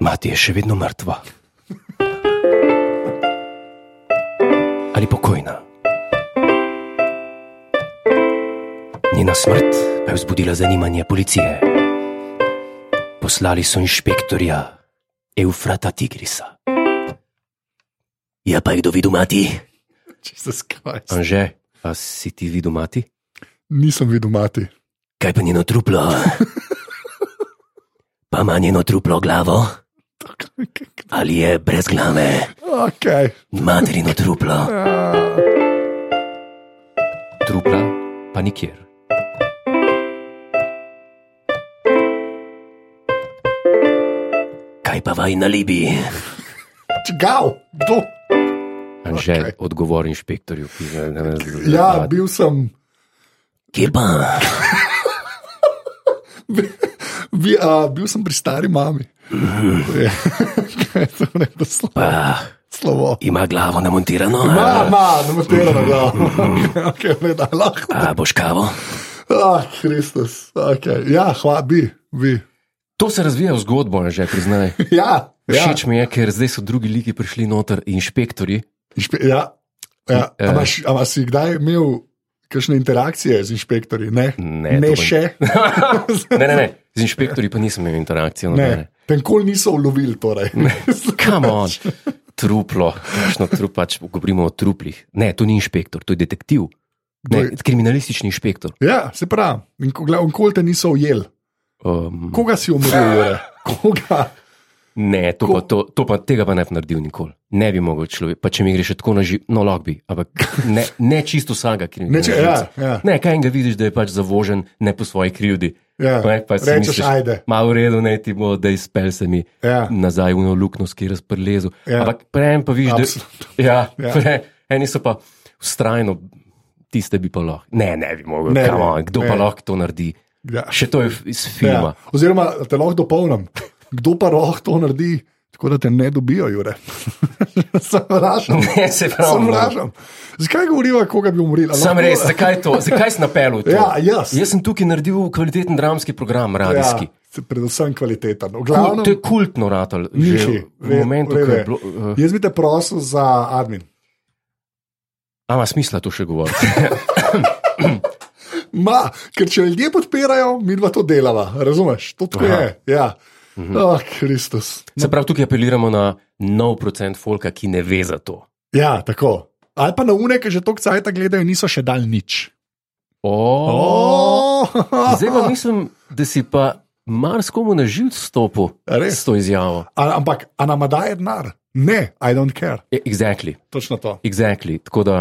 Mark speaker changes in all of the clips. Speaker 1: Mati je še vedno mrtva. Ali pokojna. Njena smrt pa je vzbudila zanimanje policije. Poslali so inšpektorja Eufrata Tigrisa. Je pa je kdo videl mati?
Speaker 2: Jesus Christ.
Speaker 1: Anže, a si ti videl mati?
Speaker 2: Nisem videl mati.
Speaker 1: Kaj pa njeno truplo? Pa ima njeno truplo glavo? Ali je brez glave?
Speaker 2: Ok.
Speaker 1: Materino truplo.
Speaker 2: Uh,
Speaker 1: Trupla pa nikjer. Kaj pa vaj na Libiji?
Speaker 2: Čegav, kdo?
Speaker 1: Anže,
Speaker 2: Okej.
Speaker 1: okay. odgovor inšpektorju, ki ga ne razume.
Speaker 2: Ja, bil sem.
Speaker 1: Kje pa?
Speaker 2: Bi, a, bil sem pri stari mami. Je, Kaj je to ne da slo-
Speaker 1: Pa
Speaker 2: slovo?
Speaker 1: ima glavo namontirano?
Speaker 2: Ma,
Speaker 1: a?
Speaker 2: ma, ne matera na glavo. Ok, ne da lahko.
Speaker 1: A boš kavo?
Speaker 2: Ah, Kristus. Okay. Ja, hvala, bi, bi.
Speaker 1: To se razvija v zgodbo, Anže, priznaj.
Speaker 2: Ja, ja.
Speaker 1: Všeč mi je, ker zdaj so drugi liki prišli noter, inšpektori.
Speaker 2: Inšpe, ja, ja.
Speaker 1: Eh.
Speaker 2: Ampak si kdaj imel kakšne interakcije z inšpektorji? Ne,
Speaker 1: Ne, to
Speaker 2: ne
Speaker 1: pa-
Speaker 2: še.
Speaker 1: Ne, ne, ne, z inšpektorji pa nisem imel interakcije. no, nobene.
Speaker 2: Ne, tenkol niso ulovili. Torej.
Speaker 1: Come on, truplo, kakšno trup, pač govorimo o truplih. Ne, to ni inšpektor, to je detektiv.
Speaker 2: Kdo
Speaker 1: Ne,
Speaker 2: je-
Speaker 1: kriminalistični inšpektor.
Speaker 2: Ja, se pravi, in ko- gla- onkol te niso ujeli.
Speaker 1: Um,
Speaker 2: Koga si umoril? Jure? Koga?
Speaker 1: ne, to pa, to, to pa, tega pa ne bi naredil nikoli. Ne bi mogel človek, pa če mi gre še tako na živo, no lahko bi, ampak ne, ne čisto vsaga
Speaker 2: Ne, če, ja,
Speaker 1: kriminalista.
Speaker 2: ja,
Speaker 1: Ne, kaj enega vidiš, da je pač zavožen, ne po svoji krivdi.
Speaker 2: ja.
Speaker 1: Ne, pa si
Speaker 2: Rečeš,
Speaker 1: misliš-
Speaker 2: ajde.
Speaker 1: Ma v redu, ne ti bo, da izpel se mi
Speaker 2: Ja.
Speaker 1: nazaj v eno luknjo, ki je razprlezel.
Speaker 2: Ja.
Speaker 1: Ja. Ampak prej pa vidiš, da.
Speaker 2: Absolutno.
Speaker 1: Ja,
Speaker 2: Ja.
Speaker 1: ja. Pre, eni so pa vztrajno, tiste bi pa lahko. Ne, ne bi mogel.
Speaker 2: Ne,
Speaker 1: Ne, on,
Speaker 2: ne,
Speaker 1: kdo
Speaker 2: ne.
Speaker 1: ne. pa lahko to naredi?
Speaker 2: Ja.
Speaker 1: Še to je f- iz
Speaker 2: Ja.
Speaker 1: filma.
Speaker 2: Oziroma, da te lahko dopolnim. Kdo pa lahko to naredi, tako da te ne dobijo, Jure? Zavrašam.
Speaker 1: Ne, se pravi. no.
Speaker 2: Zavrašam. Zakaj govorijo, koga bi umoril? A
Speaker 1: Sam
Speaker 2: Ja, lahko-
Speaker 1: res, zakaj to? Zakaj sem napeljal?
Speaker 2: Ja, jaz.
Speaker 1: jaz sem tukaj naredil kvaliteten dramski program,
Speaker 2: Ja,
Speaker 1: radijski. Ja.
Speaker 2: se- predvsem kvaliteten. V
Speaker 1: Kul,
Speaker 2: glavnem,
Speaker 1: to je kultno ratal.
Speaker 2: Miši,
Speaker 1: Že v
Speaker 2: ve-
Speaker 1: momentu,
Speaker 2: v redu
Speaker 1: ko je
Speaker 2: je.
Speaker 1: bilo. Uh,
Speaker 2: jaz bi te prosil za admin.
Speaker 1: a ima smisla to še govoriti?
Speaker 2: Ma, ker če ljudje podpirajo, mi dva to delava, razumeš? To tako
Speaker 1: Aha. Mhm.
Speaker 2: je. Ja. Oh, Kristus.
Speaker 1: Se pravi, tukaj apeliramo na nov procent folka, ki ne ve za to.
Speaker 2: Ja, tako. Ali pa na une, ki že toliko cajt gledajo, niso še dal nič.
Speaker 1: O,
Speaker 2: Oh.
Speaker 1: zdaj pa mislim, da si pa marsikomu na živce stopil
Speaker 2: A res?
Speaker 1: s to izjavo.
Speaker 2: A, ampak, a nam daje denar? Ne, I don't care.
Speaker 1: E, Exactly,
Speaker 2: Točno to.
Speaker 1: exactly. Tako da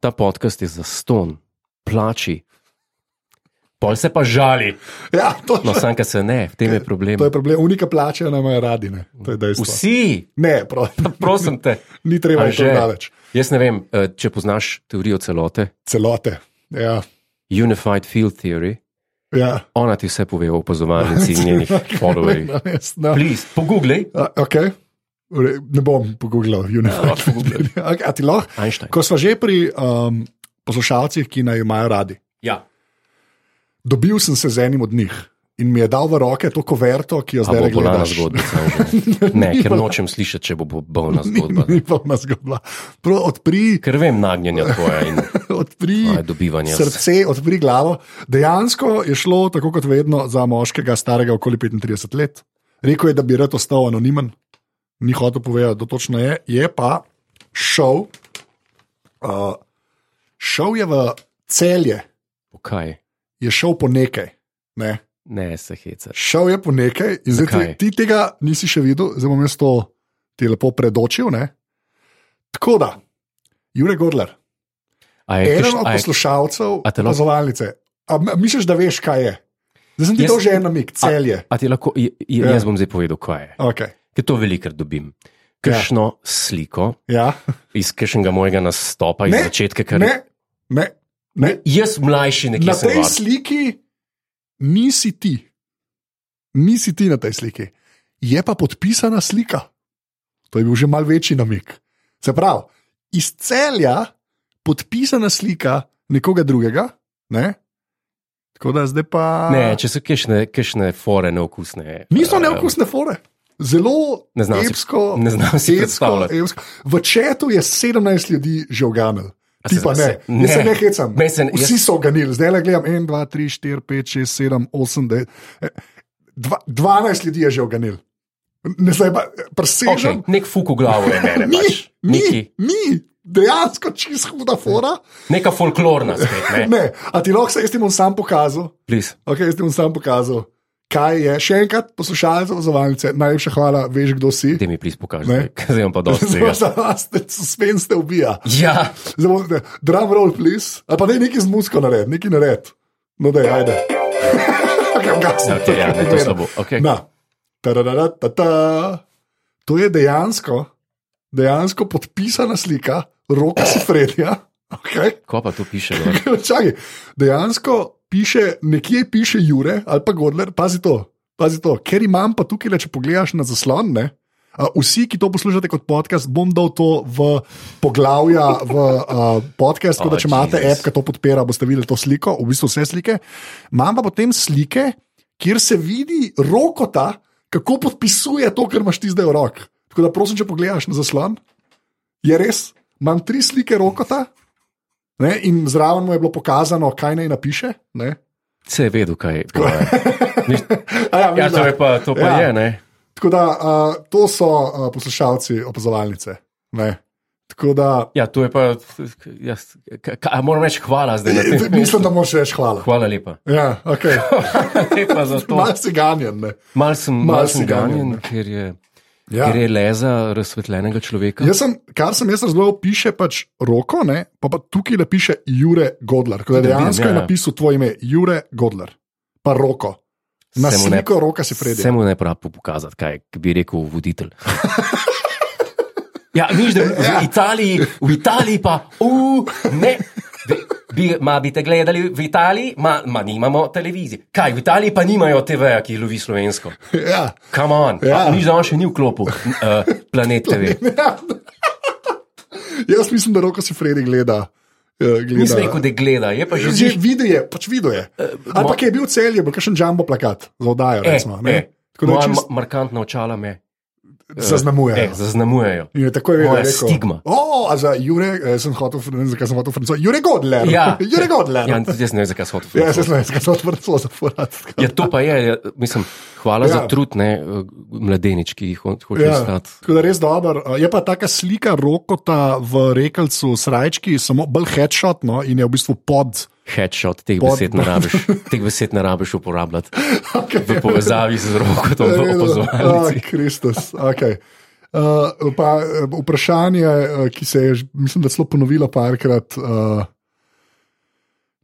Speaker 1: ta podcast je za ston, plači. Pol se pa žali,
Speaker 2: Ja,
Speaker 1: no,
Speaker 2: točno.
Speaker 1: sanka se ne, v tem je problem.
Speaker 2: To je problem, unika plačajo nam je radine. To je dejstvo.
Speaker 1: Vsi,
Speaker 2: Ne, prav,
Speaker 1: prosim te.
Speaker 2: ni treba je to
Speaker 1: Anže,
Speaker 2: daleč.
Speaker 1: Jaz ne vem, eh, če poznaš teorijo celote,
Speaker 2: Celote. Ja,
Speaker 1: Unified Field Theory,
Speaker 2: ja.
Speaker 1: ona ti vse pove o opazovalnici in njenih followerjih.
Speaker 2: No, jaz, no.
Speaker 1: Please, pogooglej.
Speaker 2: A, okay. Re- Ne bom pogooglal, Unified.
Speaker 1: lahko pogooglaj.
Speaker 2: okay, a ti lahko?
Speaker 1: Einstein.
Speaker 2: Ko smo že pri um, poslušalcih, ki naj imajo radi,
Speaker 1: Ja.
Speaker 2: dobil sem se z enim od njih in mi je dal v roke to koverto, ki jo
Speaker 1: A bo
Speaker 2: zdaj
Speaker 1: bolna
Speaker 2: gledaš. Ja.
Speaker 1: zgodba? Anže? Ne, ker nočem slišati, če bo bo bolna zgodba.
Speaker 2: Ni polna zgodba. Prav, odpri,
Speaker 1: Ker vem nagnjenja tvoja in
Speaker 2: odpri
Speaker 1: tvoje dobivanje.
Speaker 2: srce, odpri glavo. Dejansko je šlo, tako kot vedno, za moškega, starega okoli 35 let. Rekel je, da bi rad ostal anonimen, ni hotel povedati, da točno je. Je pa šel, uh, šel je v celje,
Speaker 1: Kaj?
Speaker 2: je šel po nekaj. Ne?
Speaker 1: Ne, se hecaš.
Speaker 2: Šel je po nekaj in zdaj
Speaker 1: Zakaj?
Speaker 2: ti, ti tega nisi še videl, zdaj bom jaz to ti lepo predočil. Ne? Tako da, Jure Gorler,
Speaker 1: A je kaš-
Speaker 2: eden od
Speaker 1: a je-
Speaker 2: poslušalcev
Speaker 1: a te lahko-
Speaker 2: opazovalnice. A m- Misliš, da veš, kaj je? Zdaj sem ti
Speaker 1: Jaz-
Speaker 2: to že en namik, celje.
Speaker 1: A ti lahko, je- je-
Speaker 2: Ja.
Speaker 1: jaz bom zdaj povedal, kaj je.
Speaker 2: Okay.
Speaker 1: Ker to velikrat dobim. Kakšno sliko
Speaker 2: Ja.
Speaker 1: iz kakšnega mojega nastopa, iz
Speaker 2: Ne,
Speaker 1: začetka, kar
Speaker 2: Ne, ne, ne.
Speaker 1: Jaz mlajši nekje
Speaker 2: Na
Speaker 1: sem.
Speaker 2: tej
Speaker 1: var.
Speaker 2: sliki nisi ti. Nisi ti na tej sliki. Je pa podpisana slika. To je bil že mal večji namik. Se pravi, iz celja podpisana slika nekoga drugega. Ne? Tako da zdaj pa.
Speaker 1: Ne, če so kakšne, kakšne fore neokusne.
Speaker 2: Niso
Speaker 1: eh,
Speaker 2: neokusne fore. Zelo
Speaker 1: Ne znam si-
Speaker 2: epsko,
Speaker 1: ne znam si
Speaker 2: epsko,
Speaker 1: predstavljati.
Speaker 2: epsko. V četu je 17 ljudi že oganil.
Speaker 1: A
Speaker 2: Ti
Speaker 1: se-
Speaker 2: pa ne,
Speaker 1: se-
Speaker 2: ne. se ne
Speaker 1: ne.
Speaker 2: hecam.
Speaker 1: Meni se ne-
Speaker 2: Vsi
Speaker 1: jaz-
Speaker 2: so oganili, zdaj le gledam 1, 2, 3, 4, 5, 6, 7, 8, 9. 12 eh, ljudi je že oganil. Ne zdaj pa eh, presežem.
Speaker 1: Okay, nek fuk v glavo je mene.
Speaker 2: Ni,
Speaker 1: pač. Neki,
Speaker 2: ni, ni, dejansko čist huda fora.
Speaker 1: neka folklorna spet, ne.
Speaker 2: Ne, a ti lahko se jaz ti bom sam pokazal,
Speaker 1: Please.
Speaker 2: okay, jaz ti bom sam pokazal, kaj je. Še enkrat poslušalce, opazovalce, najlepša hvala, veš kdo si.
Speaker 1: Daj mi plis pokaži,
Speaker 2: Ne.
Speaker 1: zdaj, ker zdaj imam pa dosti
Speaker 2: Zelo
Speaker 1: tega.
Speaker 2: za vas, suspenz te ubija.
Speaker 1: Ja,
Speaker 2: Zdaj bom, ne, Drum roll, please, ali pa ne nekaj z muziko nared, nekaj nared. No, da je, ajde. okay, ugasni,
Speaker 1: Ok, ja, ne, to je slabo. Ok.
Speaker 2: Na, taradadadada. To je dejansko, dejansko podpisana slika roka Sifredja. Okay.
Speaker 1: ko pa to piše, no? da
Speaker 2: Čakaj, dejansko piše, nekje piše Jure ali pa Gordler, pazi to, pazi to, ker imam pa tukaj, le, če pogledaš na zaslon. Ne? a, Vsi, ki to poslušate kot podcast, bom dal to v poglavja v uh, podcast. Tako da,
Speaker 1: Oh,
Speaker 2: če imate
Speaker 1: Jesus.
Speaker 2: app, ki to podpira, boste videli to sliko, v bistvu vse slike. Imam pa potem slike, kjer se vidi rokota, kako podpisuje to, kar imaš ti zdaj v roki. Tako da, prosim, če pogledaš na zaslon, je res. Imam tri slike rokota, Ne? In zraven mu je bilo pokazano, kaj naj napiše. Ne?
Speaker 1: se je vedel, kaj je.
Speaker 2: A Ja,
Speaker 1: Ja,
Speaker 2: vidiš,
Speaker 1: to
Speaker 2: da.
Speaker 1: je pa, to pa
Speaker 2: Ja.
Speaker 1: je, ne.
Speaker 2: Tako da uh, to so uh, poslušalci opazovalnice. Ne? Tako da
Speaker 1: Ja, to je pa, jaz, ka, ka, a moram reči hvala zdaj na tem.
Speaker 2: mislim, da moraš reči hvala.
Speaker 1: Hvala lepa.
Speaker 2: Ja, okay.
Speaker 1: Hvala lepa za to.
Speaker 2: Malo si ganjen. ne.
Speaker 1: Mal sem,
Speaker 2: Malo
Speaker 1: mal
Speaker 2: si
Speaker 1: sem
Speaker 2: ganjen,
Speaker 1: ganjen,
Speaker 2: ne.
Speaker 1: ker je,
Speaker 2: Ja.
Speaker 1: ker je leza razsvetljenega človeka.
Speaker 2: Jaz sem, kar sem jaz razumel, piše pač roko, ne? pa, pa tukaj le piše Jure Godler. Tako da
Speaker 1: vidim,
Speaker 2: dejansko
Speaker 1: ja,
Speaker 2: je
Speaker 1: ja.
Speaker 2: napisal tvoje ime, Jure Godler, pa roko. Na
Speaker 1: Se mu ne-
Speaker 2: sliko roka si predi.
Speaker 1: Se mu ne pravi pokazati, kaj je, bi rekel voditelj. Ja, viš, da v Italiji, v Italiji pa, uh, ne. Bi, bi, ma bi te gledali v Italiji, ma, ma nimamo televizije. Kaj, v Italiji pa nimajo TV-ja, ki lovi slovensko.
Speaker 2: Ja.
Speaker 1: Come on, ja.
Speaker 2: Ja.
Speaker 1: nič da on še ni v klopu, uh, planet TV.
Speaker 2: Ja. Jaz mislim, da roko si Fredi gleda. eh, gleda.
Speaker 1: Nisem rekel, da gleda, je pa že
Speaker 2: Že
Speaker 1: zjutraj.
Speaker 2: videl je, pač videl je. Ali pa
Speaker 1: mo-
Speaker 2: ki je bil cel, je bil kakšen jumbo plakat za oddajo,
Speaker 1: E,
Speaker 2: recimo. ne.
Speaker 1: e,
Speaker 2: Tako da
Speaker 1: moja
Speaker 2: čist Ja.
Speaker 1: ma- markantna očala me
Speaker 2: zaznamuje.
Speaker 1: e, zaznamujejo.
Speaker 2: In je takoj vedel,
Speaker 1: Moja
Speaker 2: je rekel,
Speaker 1: stigma.
Speaker 2: O, a za Jure, eh, sem hotel, ne vem, zakaj sem hotel francosko. Jure Godler.
Speaker 1: Ja.
Speaker 2: Jure Godler.
Speaker 1: Ja, tudi jaz ne vem, zakaj so to.
Speaker 2: Ja, se znaš, zakaj sem hotel francosko zaporati.
Speaker 1: Ja, to pa je, ja, mislim, hvala
Speaker 2: Ja.
Speaker 1: ja. za trud, ne, eh, mladenič, ki jih ho- hočeš ja.
Speaker 2: Ja,
Speaker 1: stati.
Speaker 2: tako da res dober. Eh, Je pa taka slika rokota v rekalcu srajčki, samo bolj headshot no, in je v bistvu pod.
Speaker 1: Headshot, teh
Speaker 2: Pod-
Speaker 1: besed ne rabiš, teh besed ne rabiš uporabljati
Speaker 2: Okay.
Speaker 1: v povezavi z roko,
Speaker 2: Ja,
Speaker 1: to je
Speaker 2: Ah,
Speaker 1: opozorjeno.
Speaker 2: Kristus. Okay. Uh, pa, uh, vprašanje, uh, ki se je, že- mislim, da celo ponovilo parkrat. Uh,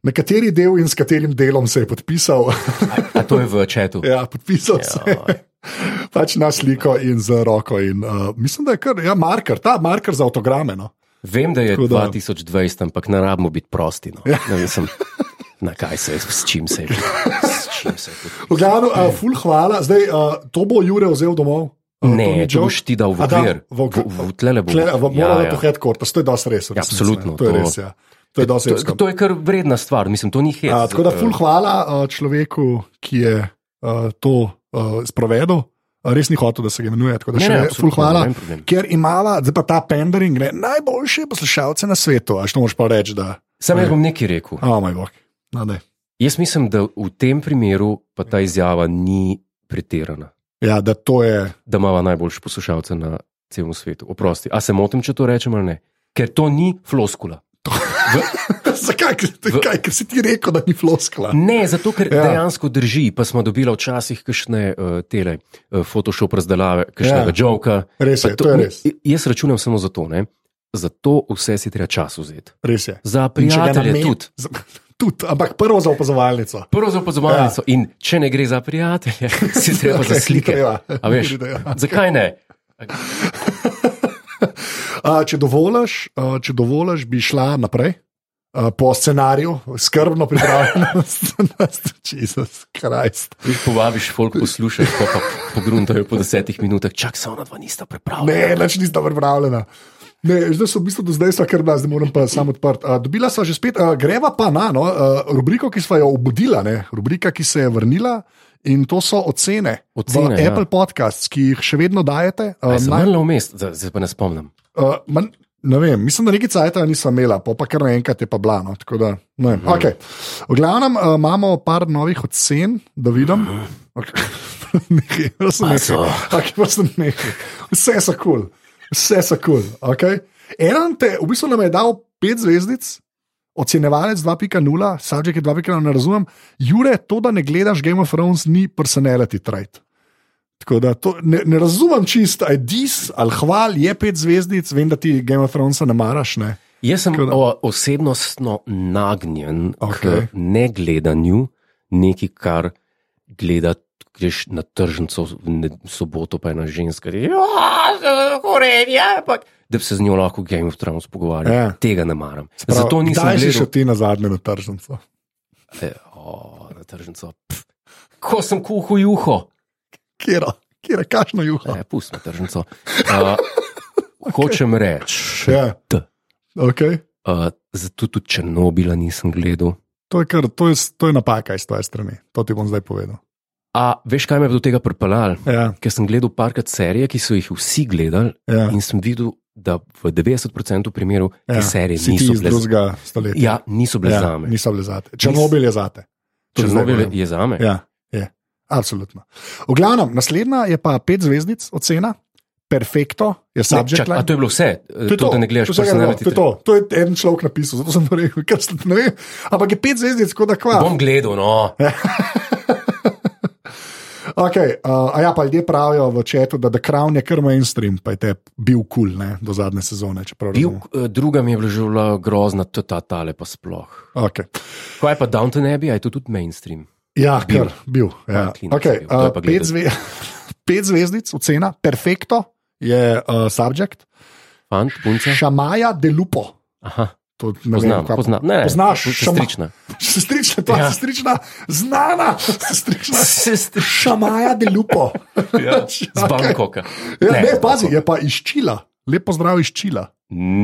Speaker 2: na kateri del in s katerim delom se je podpisal?
Speaker 1: A to je v četu.
Speaker 2: ja, podpisal se je. Pač na sliko in z roko. In, uh, mislim, da je kar, ja, marker, ta marker za avtograme. No.
Speaker 1: Vem, da je
Speaker 2: Tako da-
Speaker 1: 2020, ampak ne rabimo biti prosti. No. Ja. Ne, mislim, na kaj se je, s čim se je, s čim se je. pod-
Speaker 2: V glavnem, uh, ful, hvala. Zdaj, uh, to bo Jure vzel domov. Uh, to ni
Speaker 1: Ne, če
Speaker 2: joke.
Speaker 1: boš ti dal v
Speaker 2: A da,
Speaker 1: okvir,
Speaker 2: v okvir.
Speaker 1: tlele bo.
Speaker 2: Tle, v,
Speaker 1: Ja,
Speaker 2: moramo ja,
Speaker 1: ja.
Speaker 2: to headquarters, to je dosti res. v resnici,
Speaker 1: absolutno,
Speaker 2: ne. To je
Speaker 1: to-
Speaker 2: res, ja. To je dosti res. no.
Speaker 1: To, to je kar vredna stvar, mislim, to ni hec. eh,
Speaker 2: A, tako da, ful, hvala a, človeku, ki je a, to a, sprovedel. A, Res ni hotel, da se ga imenuje. Tako da,
Speaker 1: Ne,
Speaker 2: še
Speaker 1: ne,
Speaker 2: ne, ful,
Speaker 1: absolutno,
Speaker 2: hvala.
Speaker 1: noben problem.
Speaker 2: Ker imala, zdaj pa ta pendering, ne, najboljše poslušalce na svetu. A što moš pa reči, da.
Speaker 1: Sam jaz bom nekaj rekel.
Speaker 2: O, oh, moj bog. No, daj.
Speaker 1: Jaz mislim, da v tem primeru pa
Speaker 2: Mhm.
Speaker 1: ta izjava ni pretirana,
Speaker 2: ja, da to je.
Speaker 1: da imamo najboljše poslušalce na celem svetu. Oprosti, a se motim, če to rečem ali ne? Ker to ni floskula.
Speaker 2: Zakaj, ker, kaj, ker si ti rekel, da ni floskla?
Speaker 1: Ne, zato ker
Speaker 2: Ja.
Speaker 1: ja. dejansko drži, pa smo dobili včasih kakšne uh, tele, uh, Photoshop razdelave, kakšnega ja.
Speaker 2: Ja.
Speaker 1: joka.
Speaker 2: Res je,
Speaker 1: Pa
Speaker 2: to je res.
Speaker 1: Jaz računam samo zato, ne? Zato vse si treba čas vzeti.
Speaker 2: Res je.
Speaker 1: Za
Speaker 2: In če ga
Speaker 1: prijatelje
Speaker 2: namen-
Speaker 1: tudi.
Speaker 2: za- Tudi, ampak prvo za opazovalnico.
Speaker 1: Prvo za opazovalnico ja. in če ne gre za prijatelje, si treba okay, za
Speaker 2: Okej,
Speaker 1: slike.
Speaker 2: treba.
Speaker 1: A veš,
Speaker 2: Treba.
Speaker 1: zakaj ne?
Speaker 2: A, če dovoliš, a, če dovoliš, bi šla naprej. a, Po scenariju, skrbno pripravljena na Jezus Krist.
Speaker 1: Jih povabiš, folk poslušaš, pa, pa pogruntajo po desetih minutah, čak se ona dva nista pripravljena.
Speaker 2: Ne, več nista pripravljena. Ne, zdaj so v bistvu do zdaj sva kar bila, zdaj moram pa sam odprt. Uh, dobila sva že spet, uh, greva pa na no, uh, rubriko, ki sva jo obudila, ne, rubrika, ki se je vrnila. In to so ocene,
Speaker 1: Ocene,
Speaker 2: v
Speaker 1: ja.
Speaker 2: Apple podcasts, ki jih še vedno dajete.
Speaker 1: A
Speaker 2: Uh,
Speaker 1: je
Speaker 2: naj-
Speaker 1: Zmrlo vmes, zdaj zdaj pa ne spomnim.
Speaker 2: Uh, man, ne vem, mislim, da nekaj cajt nisem imela, pol pa kar naenkrat je pa blano. Da, ne vem. okay. V glavnem uh, imamo par novih ocen, da vidim. Okay. nekaj, prosim,
Speaker 1: Pa
Speaker 2: nekaj.
Speaker 1: so.
Speaker 2: Okay, prosim, nekaj. Vse so kul, cool. vse so kul. Cool. Okay. Eden te, v bistvu nam je dal pet zvezdic. Ocenevalec 2.0, Sadžek je 2.0, ne razumem. Jure, to, da ne gledaš Game of Thrones, ni personality trait. Tako da to, ne, ne razumem čist, aj dis ali hval je pet zvezdic, vem, da ti Game of Thronesa ne maraš. Ne?
Speaker 1: Jaz sem
Speaker 2: Tako da-
Speaker 1: o, osebnostno nagnjen okay.
Speaker 2: Okej.
Speaker 1: k negledanju nekaj, kar gledaš. Greš na tržnico v ne- soboto, pa je ena ženska, "Ja, ki je korenja, ja, ampak da bi se z njo lahko o Game of Thrones pogovarjal.
Speaker 2: Ja.
Speaker 1: Tega ne maram.
Speaker 2: Prav,
Speaker 1: Zato nisem
Speaker 2: Kdaj si
Speaker 1: gledal.
Speaker 2: še ti na zadnje na tržnico?
Speaker 1: E, o, na tržnico. Pf, ko sem kuhal juho,
Speaker 2: Kjera, kjera, kašno juha.
Speaker 1: ne, pusti na Eh, tržnico. Uh, Hočem reči,
Speaker 2: Ja.
Speaker 1: T.
Speaker 2: Okay.
Speaker 1: uh, zato tudi Černobila nisem gledal.
Speaker 2: To, je kar, to, je, s- to je napaka iz tvoje strani, to ti bom zdaj povedal.
Speaker 1: A veš, kaj me je do tega pripeljalo?
Speaker 2: Ja,
Speaker 1: Ker sem gledal parkrat serije, ki so jih vsi gledali
Speaker 2: ja.
Speaker 1: in sem videl, da v 90% primerov te
Speaker 2: Ja,
Speaker 1: serije
Speaker 2: Si ti
Speaker 1: niso bile
Speaker 2: iz
Speaker 1: za-
Speaker 2: drugega stoletja.
Speaker 1: Ja, niso bile
Speaker 2: ja,
Speaker 1: zame.
Speaker 2: niso bile zate. Černobil je zate. To zdaj
Speaker 1: Černobil
Speaker 2: povem.
Speaker 1: je zame.
Speaker 2: Ja, je. Absolutno. V glavnem, naslednja je pa pet zvezdic ocena, perfekto,
Speaker 1: Ne,
Speaker 2: je subjekt.
Speaker 1: čak,
Speaker 2: line.
Speaker 1: a to je bilo vse, Eh, to, to, da ne gledaš
Speaker 2: to, je vse, kar je bilo.
Speaker 1: personality.
Speaker 2: to, je to. to je en človek napisal, zato sem to rekel, ker sem ne vem. Ampak je pet zvezdic, tako da kva.
Speaker 1: Bom gledal, no.
Speaker 2: Ja, Okay, uh, a ja, pa ljudje pravijo v četu, da The Crown je kar mainstream, pa je te bil kul cool, ne, do zadnje sezone. čeprav
Speaker 1: Bil,
Speaker 2: razumem.
Speaker 1: eh, druga mi je bila že bila grozna, to ta tale pa sploh.
Speaker 2: Okay.
Speaker 1: Kaj pa Downton Abbey, a je to tudi mainstream?
Speaker 2: Ja, bil. kar bil. Ja.
Speaker 1: Ja, klinac
Speaker 2: Okay,
Speaker 1: je bil, to
Speaker 2: uh,
Speaker 1: je pa
Speaker 2: pet,
Speaker 1: gledal.
Speaker 2: zve pet zvezdic, ocena, perfekto je uh, subjekt,
Speaker 1: Fant, punca?
Speaker 2: šamaja delupo.
Speaker 1: Aha,
Speaker 2: To ne
Speaker 1: Ja. poznam,
Speaker 2: vem, kva-
Speaker 1: poznam. Ne,
Speaker 2: Poznaš, šama-
Speaker 1: sestrična.
Speaker 2: Sestrična, to je ja.
Speaker 1: Ja.
Speaker 2: sestrična, znana sestrična.
Speaker 1: Sestrična.
Speaker 2: Šamaja delupo.
Speaker 1: Ja, z
Speaker 2: Okej.
Speaker 1: Bangkoka.
Speaker 2: Ja, ne,
Speaker 1: Ne,
Speaker 2: ne
Speaker 1: z
Speaker 2: pazi,
Speaker 1: Bangkoka.
Speaker 2: je pa izčila, lepo zdrav izčila.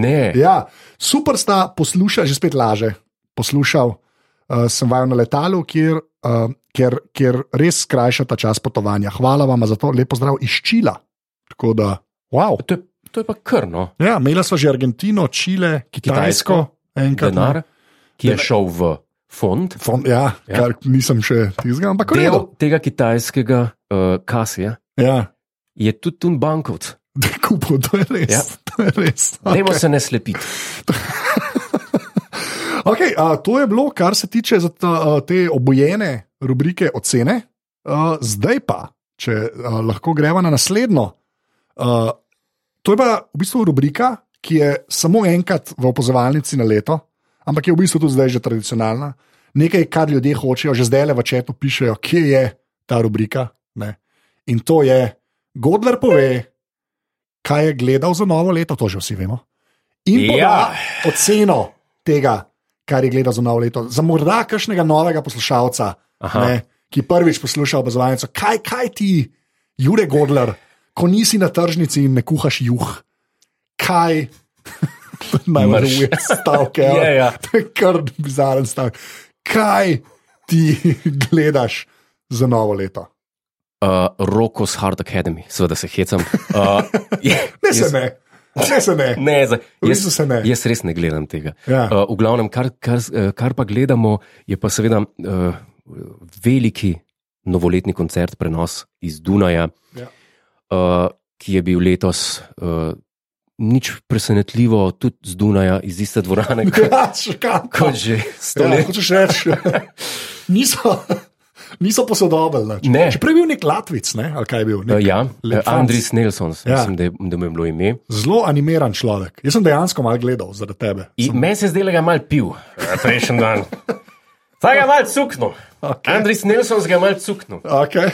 Speaker 1: Ne,
Speaker 2: Ja, super sta poslušal, že spet laže. Poslušal uh, sem vaju na letalu, kjer, uh, kjer, kjer res skrajša ta čas potovanja. Hvala vam za to, lepo zdrav izčila. Tako da, wow.
Speaker 1: to je, to je pa no, krno.
Speaker 2: Ja, imela smo že Argentino, Čile, Kitajsko, enkrat.
Speaker 1: denar, ki je
Speaker 2: Denar.
Speaker 1: šel v fond.
Speaker 2: Fon, ja, ja,
Speaker 1: Ja.
Speaker 2: kar nisem še izgal, ampak
Speaker 1: Del
Speaker 2: redo.
Speaker 1: tega kitajskega uh, kasija
Speaker 2: Ja,
Speaker 1: je tudi tu bankovc.
Speaker 2: da kupo, to je res.
Speaker 1: Ja.
Speaker 2: Ja. To je res.
Speaker 1: Dajmo okay. se ne slepiti.
Speaker 2: Okay, a, to je bilo, kar se tiče za ta, a, te obojene rubrike ocene. A, zdaj pa, če a, lahko greva na naslednjo. A, to je pa v bistvu rubrika, ki je samo enkrat v opozovalnici na leto, ampak je v bistvu tudi zdaj že tradicionalna. Nekaj, kar ljudje hočejo, že zdaj le v četu pišejo, kje je ta rubrika. Ne? In to je, Godler pove, kaj je gledal za novo leto, to že vsi vemo. In
Speaker 1: Ja.
Speaker 2: poda oceno tega, kar je gledal za novo leto. Za morda kakšnega novega poslušalca,
Speaker 1: Aha.
Speaker 2: ne, ki prvič posluša obazovalnico, kaj, kaj ti, Jure Godler, ko nisi na tržnici in ne kuhaš juh, kaj. Najmanj
Speaker 1: Mrš.
Speaker 2: ujete stavke.
Speaker 1: Ja, ja.
Speaker 2: To je kar bizaren stavek. Kaj ti gledaš za novo leto?
Speaker 1: Uh, Roko s Hard Academy, seveda se hecam. Uh, je,
Speaker 2: Ne se
Speaker 1: jaz-
Speaker 2: ne, ne se ne.
Speaker 1: Ne, zdaj,
Speaker 2: V
Speaker 1: jaz,
Speaker 2: bistvu se ne.
Speaker 1: jaz res ne gledam tega.
Speaker 2: Ja.
Speaker 1: Uh, v glavnem, kar, kar, eh, kar pa gledamo, je pa seveda uh, veliki novoletni koncert, prenos iz Dunaja,
Speaker 2: Ja.
Speaker 1: uh, ki je bil letos uh, nič presenetljivo, tudi z Dunaja, iz iste dvorane, kot, kot že
Speaker 2: Ja,
Speaker 1: stoletje.
Speaker 2: hočeš reči, niso, niso posodobili.
Speaker 1: Ne.
Speaker 2: Čeprav je bil nek Latvic, ne? ali kaj je bil.
Speaker 1: Ja,
Speaker 2: Nek,
Speaker 1: ja
Speaker 2: Lep
Speaker 1: eh, Andris Nelson,
Speaker 2: Ja.
Speaker 1: ja. mislim, da, je- da mu je bilo ime.
Speaker 2: zelo animiran človek. Jaz sem dejansko malo gledal zaradi tebe.
Speaker 1: I- Meni se je zdelo, da je mal pil eh, prejšnji dan. Zdaj ga je mal cuknil. Okay. Andris Nelson ga je mal cuknil.
Speaker 2: Okay.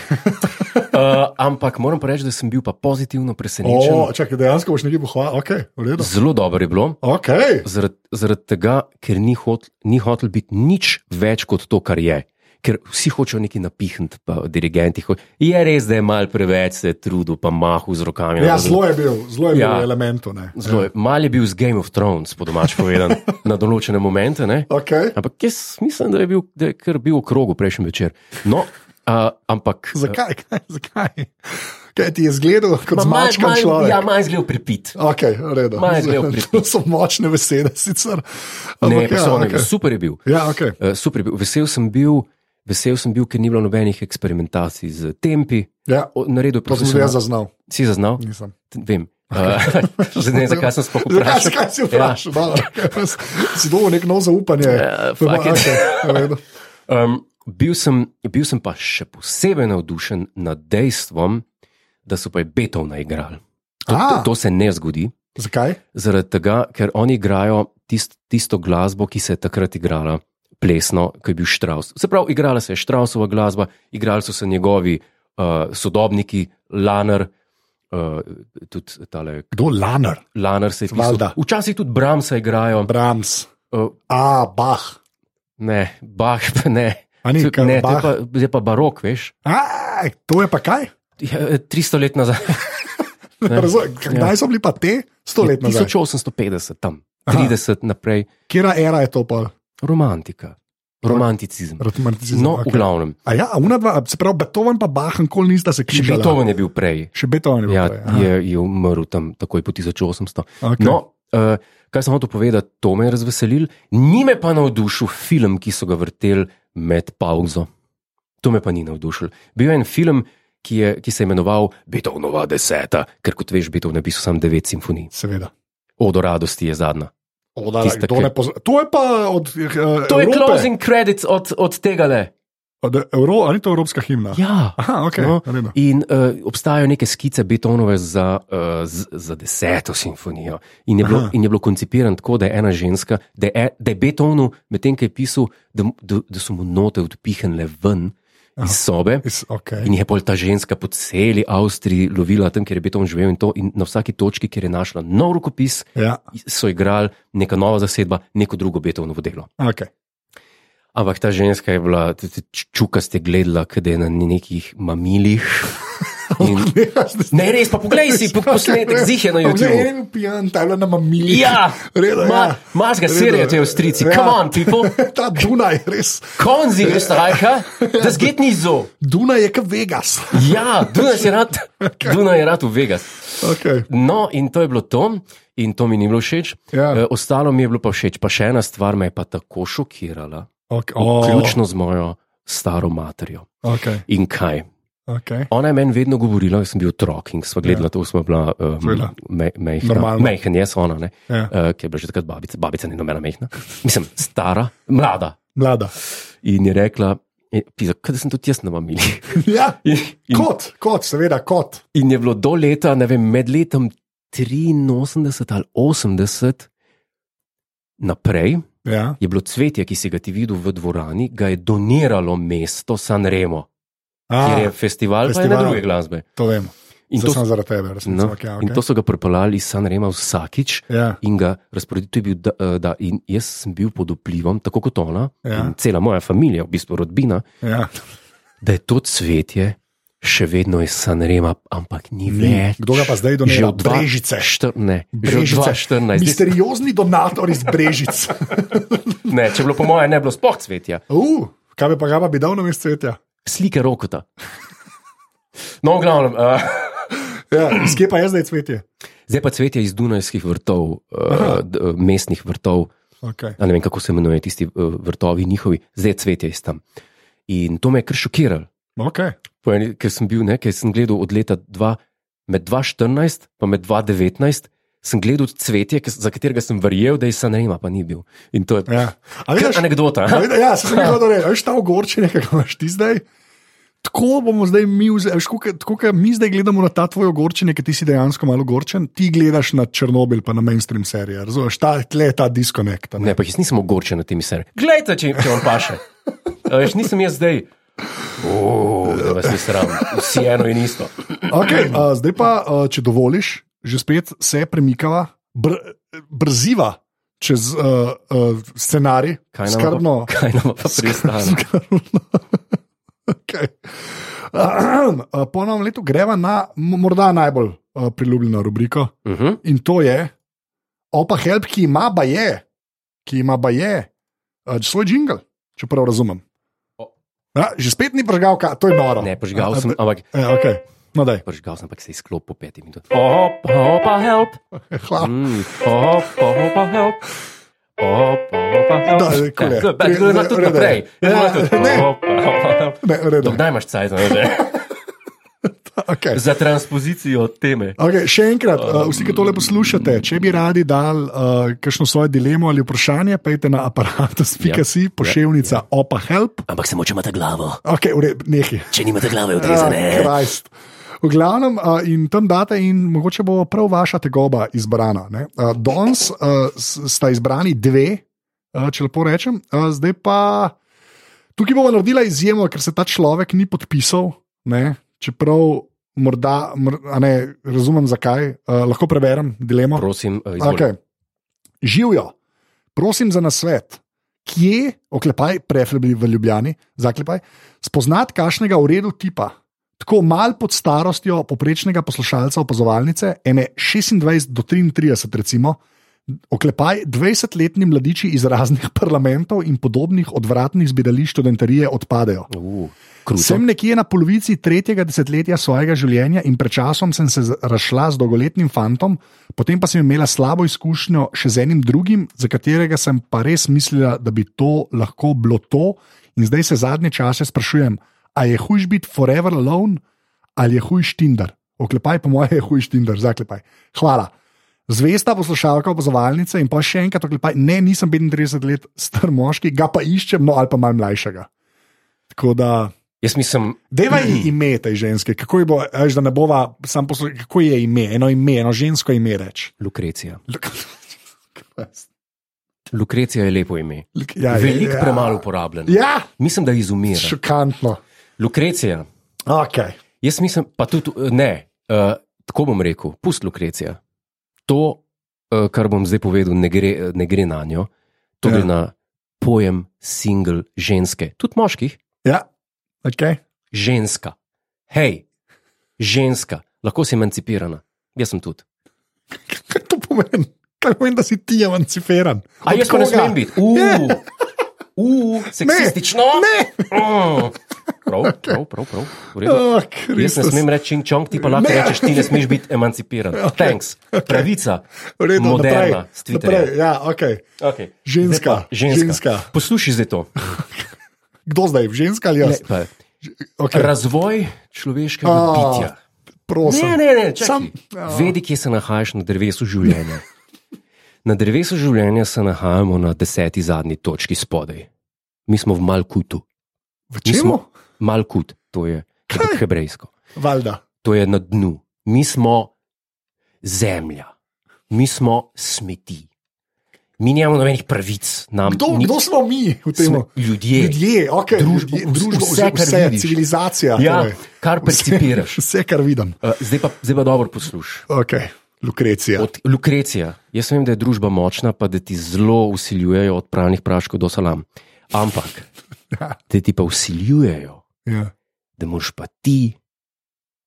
Speaker 1: Uh, ampak moram pa reči, da sem bil pa pozitivno presenečen. Oh.
Speaker 2: o, čakaj, dejansko boš nekaj pohvalil. Okay, v redu.
Speaker 1: Zelo dobro je bilo,
Speaker 2: okay.
Speaker 1: zaradi zarad tega, ker ni hotel, ni hotel biti nič več kot to, kar je. ker vsi hočejo nekaj napihniti, pa dirigenti. Ho... Je res, da je mal preveč se trudil, pa mahu z rokami.
Speaker 2: Ja, zelo je bil, zelo je bil
Speaker 1: Ja.
Speaker 2: ja. elementu. Ne.
Speaker 1: Zelo je, mal je bil z Game of Thrones, po domač povedan, na določene momente. Ne?
Speaker 2: Okay.
Speaker 1: Ampak jaz mislim, da je bil, da je kar bil v krogu prejšnji večer. No, uh, ampak.
Speaker 2: Zakaj? Kaj, zakaj? Kaj ti je zgledal kot
Speaker 1: Ma malo-
Speaker 2: zmačkan
Speaker 1: malo-
Speaker 2: človek?
Speaker 1: Ja, manj zgled pripit.
Speaker 2: Okay, redo.
Speaker 1: Ma, je zgledal
Speaker 2: to so močne besede, sicer.
Speaker 1: Ne,
Speaker 2: Ampak
Speaker 1: okay,
Speaker 2: ja, okej.
Speaker 1: okay. super je bil.
Speaker 2: Ja, okay.
Speaker 1: Uh, super je bil. Vesel sem bil. Vesel sem bil, ker ni bilo nobenih eksperimentacij z tempi.
Speaker 2: ja,
Speaker 1: O, Naredil je
Speaker 2: to sem
Speaker 1: profesionalno.
Speaker 2: jaz Ja. zaznal.
Speaker 1: Si zaznal?
Speaker 2: Nisem.
Speaker 1: T- Vem. Uh, ne, vem, zakaj sem sploh
Speaker 2: Zakaj,
Speaker 1: vprašal?
Speaker 2: zakaj si vprašal? Ja. Si dobil neko novo zaupanje.
Speaker 1: Ja,
Speaker 2: To bo-
Speaker 1: fuck it.
Speaker 2: okej, v redu.
Speaker 1: Um, bil, sem, bil sem pa še posebej navdušen nad dejstvom, da so pa je Beethovna igrali. To,
Speaker 2: A.
Speaker 1: to, to se ne zgodi,
Speaker 2: Zakaj?
Speaker 1: zaradi tega, ker oni igrajo tist, tisto glasbo, ki se je takrat igrala, plesno, ki je bil Štraus. Se pravi, igrala se je Štrausova glasba, igrali so se njegovi uh, sodobniki, Laner, uh, tudi tale
Speaker 2: Kdo lanar?
Speaker 1: Laner se je pisal.
Speaker 2: Valjda.
Speaker 1: Včasih tudi Bramsa igrajo,
Speaker 2: Brahms.
Speaker 1: uh,
Speaker 2: A, bah.
Speaker 1: ne, Bach, pa ne.
Speaker 2: A ni,
Speaker 1: To-
Speaker 2: kar
Speaker 1: ne, to je
Speaker 2: Bach.
Speaker 1: pa, to je pa barok, veš.
Speaker 2: A, to je pa kaj?
Speaker 1: Ja, 300 let nazaj. Ja.
Speaker 2: Razumem, Kdaj so bili pa te? Sto let nazaj.
Speaker 1: 1850, tam,
Speaker 2: Aha.
Speaker 1: 30 Aha. naprej,
Speaker 2: Kera era je to pa?
Speaker 1: romantika, romanticizem.
Speaker 2: Romanticizem,
Speaker 1: No,
Speaker 2: okej.
Speaker 1: v glavnem.
Speaker 2: A ja, a ona dva, se pravi, Beethoven pa Bach, nikoli nista se
Speaker 1: Še
Speaker 2: križala.
Speaker 1: Beethoven je bil prej.
Speaker 2: Še Beethoven je bil.
Speaker 1: Ja,
Speaker 2: prej, aha.
Speaker 1: je, je umrl tam takoj po 1800.
Speaker 2: Okej.
Speaker 1: No, uh, kaj sem hotel povedati, to me je razveselil, ni me pa navdušil film, ki so ga vrteli med pauzo. To me pa ni navdušil. Bil je en film, ki, je, ki se je imenoval Beethovenova deseta, ker kot veš, Beethoven je napisal samo devet simfonij.
Speaker 2: Seveda.
Speaker 1: Odo radosti je zadnja.
Speaker 2: O, da,
Speaker 1: Tista,
Speaker 2: kdo
Speaker 1: ki-
Speaker 2: ne pozna- to je pa od eh,
Speaker 1: To je
Speaker 2: Evrope.
Speaker 1: closing credits od, od tega le.
Speaker 2: Od Euro, ali ni to evropska himna?
Speaker 1: Ja.
Speaker 2: Aha, ok.
Speaker 1: No,
Speaker 2: No. In...
Speaker 1: In uh, obstajajo neke skice Beethovenove za, uh, z, za deseto simfonijo. In je, bilo,
Speaker 2: Aha.
Speaker 1: in je bilo koncipiran tako, da je ena ženska, da je, e- da je Beethovenu, medtem ko je pisal, da, mu- da, da so mu note odpihnile ven Aha. iz sobe.
Speaker 2: Is, okay.
Speaker 1: In je pol ta ženska po celi Avstriji lovila tam, kjer je Beethoven živel in to. In na vsaki točki, kjer je našla nov rokopis,
Speaker 2: Ja,
Speaker 1: so igrali neka nova zasedba, neko drugo Beethovenovo delo.
Speaker 2: ok.
Speaker 1: Ampak ta ženska je bila, t- t- čuka ste gledala, kaj je na nekih mamilih. In,
Speaker 2: Ja,
Speaker 1: Ne, res, pa poglej si po- posnetek, zih je na YouTubeu.
Speaker 2: Ne, ne, pijan, ta je bila na mamili.
Speaker 1: Ja,
Speaker 2: Redo,
Speaker 1: ma,
Speaker 2: ja.
Speaker 1: mazga
Speaker 2: Redo,
Speaker 1: serija,
Speaker 2: ja.
Speaker 1: te avstrici,
Speaker 2: Ja.
Speaker 1: come on, people.
Speaker 2: Ta Dunaj, res.
Speaker 1: Konzi Österreicher, das geht nicht so.
Speaker 2: Dunaj je kot Vegas.
Speaker 1: Ja, Dunaj je rad, Dunaj je rad v Vegas.
Speaker 2: Okay.
Speaker 1: No, in to je bilo to, in to mi ni bilo všeč.
Speaker 2: Ja.
Speaker 1: Eh, Ostalo mi je bilo pa všeč, pa še ena stvar me je pa tako šokirala,
Speaker 2: Okay.
Speaker 1: vključno z mojo staro materjo.
Speaker 2: Okay.
Speaker 1: In kaj?
Speaker 2: Okay.
Speaker 1: Ona je meni vedno govorila, jaz sem bil otrok in ko sva gledala, ja. to smo bila
Speaker 2: Seveda.
Speaker 1: um, me, mehna.
Speaker 2: Normalno.
Speaker 1: Mehen, jaz ona, ne,
Speaker 2: Ja.
Speaker 1: uh, ki je bila že takrat babica, babica ni nobena mehna. Mislim, stara, mlada.
Speaker 2: Mlada.
Speaker 1: In je rekla, je, pizda, kaj da sem tudi jaz na mamili.
Speaker 2: Ja.
Speaker 1: In, in,
Speaker 2: Kot, kot, seveda, kot.
Speaker 1: in je bilo do leta, ne vem, med letom 83 ali 80 naprej.
Speaker 2: Ja.
Speaker 1: Je bilo cvetje, ki si ga ti videl v dvorani, ga je doniralo mesto San Remo, kjer je
Speaker 2: A,
Speaker 1: festival, festival. pa
Speaker 2: Ah, festival.
Speaker 1: ene druge glasbe.
Speaker 2: to vemo.
Speaker 1: In
Speaker 2: Zdaj
Speaker 1: to,
Speaker 2: sem zaradi tebe, resnico.
Speaker 1: No,
Speaker 2: No. Okay,
Speaker 1: In
Speaker 2: okay.
Speaker 1: to so ga pripeljali iz San Rema vsakič
Speaker 2: Ja.
Speaker 1: in ga razporedili. To je bil, da, eh, da, in jaz sem bil pod vplivom, tako kot ona,
Speaker 2: Ja.
Speaker 1: ja. in cela moja družina, v bistvu rodbina,
Speaker 2: Ja.
Speaker 1: da je to cvetje še vedno iz San Rema, ampak ni,
Speaker 2: Ni.
Speaker 1: več.
Speaker 2: Kdo ga pa zdaj donira?
Speaker 1: Že od
Speaker 2: Brežice.
Speaker 1: 2014.
Speaker 2: Brežice.
Speaker 1: Mister...
Speaker 2: Misteriozni donator iz Brežic.
Speaker 1: Ne, če bilo po mojem, ne bilo spoh cvetja,
Speaker 2: Uh, kaj bi pa ga pa bi dal na mesto cvetja?
Speaker 1: slike rokota. No, v glavnem, uh,
Speaker 2: Ja, iz kje pa je zdaj cvetje?
Speaker 1: zdaj pa cvetje iz Dunajskih vrtov, uh, d, eh, mestnih vrtov,
Speaker 2: Okay.
Speaker 1: ali ne vem, kako se imenuje tisti eh, vrtovi njihovi, zdaj cvetje iz tam. In to me je kar šokiralo,
Speaker 2: Okay.
Speaker 1: Po eni- ker sem bil, ne, ker sem gledal od leta 2, med 2014 in 2019, sem gledal cvetje, ki- za katerega sem verjel, da je se ne ima, pa ni bil. In to je ja.
Speaker 2: Ja. A vidiš,
Speaker 1: anekdota.
Speaker 2: a vidiš, ja, sem jih hodil reči, a veš ta ogorčenje, ki ga imaš ti zdaj. Tako bomo zdaj mi, vze- a veš, koliko- tako kot mi zdaj gledamo na ta tvoj ogorčenje, ki ti si dejansko malo ogorčen, ti gledaš na Černobil, pa na mainstream serije. Razumeš, ta, tle je ta diskonekt. a ne.
Speaker 1: Ne, pa jaz nisem ogorčen na temi seriji. Glejte, če, če vam paše. A Veš, nisem jaz zdaj. O, da vas ni sram, vsi eno in isto.
Speaker 2: Okay, uh, zdaj pa, uh, če dovoliš, že spet se premikava, br brziva čez uh, uh, scenarij,
Speaker 1: Kaj nam pa-
Speaker 2: skrbno.
Speaker 1: Kaj nam pa pristane?
Speaker 2: Skrbno. okay. uh, po novem letu greva na m- morda najbolj uh, priljubljeno rubriko
Speaker 1: Uh -huh.
Speaker 2: in to je Opa Help, ki ima pa je, ki ima pa je uh, svoj jingle, če prav razumem.
Speaker 1: O.
Speaker 2: Ja, že spet ni prežgalka, to je noro.
Speaker 1: Ne, požgal sem,
Speaker 2: A,
Speaker 1: ampak
Speaker 2: a, okay. No, daj.
Speaker 1: požgal sem, ampak se je sklop po petih minutah. Opa, opa, help.
Speaker 2: Hvala.
Speaker 1: Mm, Opa, opa, help. Opa, opa, help.
Speaker 2: Da, je, kul je.
Speaker 1: Ja, tako da ima tudi
Speaker 2: Reda je.
Speaker 1: naprej. Ja, ima
Speaker 2: Ja,
Speaker 1: tudi.
Speaker 2: ne.
Speaker 1: Opa, opa, help.
Speaker 2: Ne, v redu.
Speaker 1: Dokdaj imaš cajt, ne že?
Speaker 2: Okay.
Speaker 1: Za transpozicijo teme.
Speaker 2: Okay, še enkrat, uh, vsi, ki tole poslušate, če bi radi dali uh, kakšno svojo dilemo ali vprašanje, pejte na aparatus.ca, yep. pošiljka yep. opa help.
Speaker 1: Ampak samo če imate glavo.
Speaker 2: Okay, Nekaj.
Speaker 1: Če nimate glave
Speaker 2: Ah, Ja, Krajst. V glavnem, uh, in tam date, in mogoče bo prav vaša tegoba izbrana. ne. Uh, Danes uh, s- sta izbrani dve, uh, če lepo rečem, uh, zdaj pa tukaj bomo naredili izjemo, ker se ta človek ni podpisal. Ne? Čeprav morda, mor, a ne razumem zakaj, uh, lahko preberem dilemo.
Speaker 1: Prosim, eh, izvoli.
Speaker 2: Okay. Živijo, prosim za nasvet. Kje, oklepaj, preflebni v Ljubljani, zaklepaj, spoznati kašnega v redu tipa, tako mal pod starostjo poprečnega poslušalca opazovalnice, ene 26 do 33, recimo, oklepaj 20-letni mladiči iz raznih parlamentov in podobnih odvratnih zbirališč študentarije odpadejo.
Speaker 1: Uh, kruto.
Speaker 2: Sem nekje na polovici tretjega desetletja svojega življenja in pred časom sem se z- razšla z dolgoletnim fantom, potem pa sem imela slabo izkušnjo še z enim drugim, za katerega sem pa res mislila, da bi to lahko bilo to, in zdaj se zadnje čase sprašujem, a je hujš biti forever alone ali je hujš Tinder. Oklepaj, po mojem, je hujš Tinder, zaklepaj. Hvala. Zvesta poslušalka opazovalnice in pa še enkrat oklepaj, ne, nisem 35 let star moški, ga pa iščem, no ali pa malo mlajšega. Tako da.
Speaker 1: Jaz mislim,
Speaker 2: Deva ji ime tej ženske, kako je bo, veš, da ne bova sam poslušala, kako je ime, eno ime, eno žensko ime reč.
Speaker 1: Lukrecija. Lukrecija je lepo ime.
Speaker 2: Ja, je,
Speaker 1: Veliko
Speaker 2: ja.
Speaker 1: premalo uporabljeno.
Speaker 2: Ja,
Speaker 1: Mislim, da izumira.
Speaker 2: šokantno.
Speaker 1: Lukrecija.
Speaker 2: Okay.
Speaker 1: Jaz mislim, pa tudi eh, ne, uh, tako bom rekel, pust Lukrecija. To, uh, kar bom zdaj povedal, ne gre, eh, ne gre na njo, to
Speaker 2: Ja.
Speaker 1: gre na pojem single ženske, tudi moških,
Speaker 2: Ja, okay.
Speaker 1: ženska. Hej, ženska, lahko si emancipirana. Jaz sem tudi.
Speaker 2: Kaj to pomeni? Kaj pomeni, da si ti emancipiran?
Speaker 1: A
Speaker 2: Od
Speaker 1: jaz pa ne
Speaker 2: koga?
Speaker 1: smem biti, uf, uf, seksistično.
Speaker 2: Ne,
Speaker 1: Mm. Prav, prav, prav, prav. v redu.
Speaker 2: oh,
Speaker 1: Jaz ne smem reči čing čong, ti pa lahko
Speaker 2: Ne.
Speaker 1: rečeš, ti ne smeš biti emancipiran. Thanks, pravica,
Speaker 2: reči,
Speaker 1: moderna, s Twitterja.
Speaker 2: Ja, okay.
Speaker 1: Okay. Zdaj
Speaker 2: Ženska,
Speaker 1: pa ženska.
Speaker 2: ženska.
Speaker 1: Poslušaj zdaj to.
Speaker 2: Kdo zdaj, ženska ali jaz?
Speaker 1: Pa,
Speaker 2: Okay.
Speaker 1: razvoj človeškega
Speaker 2: A,
Speaker 1: bitja.
Speaker 2: Prosim.
Speaker 1: Ne, ne, ne,
Speaker 2: Sam-
Speaker 1: Sam, Vedi, kje se nahajaš na drevesu življenja. Na drevesu življenja se nahajamo na deseti zadnji točki spodaj. Mi smo v Malkutu. Mi
Speaker 2: V čemu?
Speaker 1: smo- Malkut, to je
Speaker 2: Kaj?
Speaker 1: hebrejsko.
Speaker 2: Valjda.
Speaker 1: To je na dnu. Mi smo zemlja, mi smo smeti. Mi nimamo nobenih pravic, nam
Speaker 2: Kdo,
Speaker 1: ni-
Speaker 2: kdo smo mi v tem?
Speaker 1: smo ljudje.
Speaker 2: Ljudje, okay,
Speaker 1: Družbo,
Speaker 2: družbo, družbo
Speaker 1: vse,
Speaker 2: vse,
Speaker 1: kar
Speaker 2: vse
Speaker 1: vidiš.
Speaker 2: civilizacija.
Speaker 1: Ja,
Speaker 2: torej.
Speaker 1: kar percipiraš.
Speaker 2: Vse, vse kar vidim.
Speaker 1: Uh, zdaj, pa, zdaj pa dobro poslušaj.
Speaker 2: Okay. Lukrecija.
Speaker 1: Od Lukrecija, jaz vem, da je družba močna, pa da ti zelo usiljujejo od pravnih praškov do salam. Ampak
Speaker 2: Ja,
Speaker 1: te ti pa usiljujejo,
Speaker 2: ja.
Speaker 1: da moš pa ti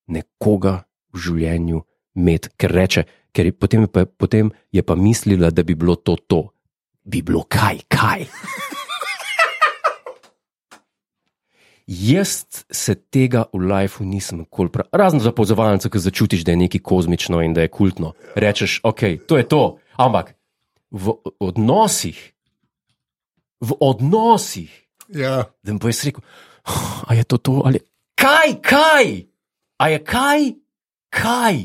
Speaker 1: nekoga v življenju imeti, ker reče, ker je potem, je pa, potem je pa mislila, da bi bilo to to. Bi bilo kaj, kaj. Jaz se tega v lifeu nisem nikoli prav. Razen za pozovalnico, ki začutiš, da je nekaj kozmično in da je kultno. Rečeš, ok, to je to. Ampak v odnosih, v odnosih
Speaker 2: ja.
Speaker 1: da bo jaz rekel, "Oh, a je to to ali kaj, kaj, a je kaj, kaj.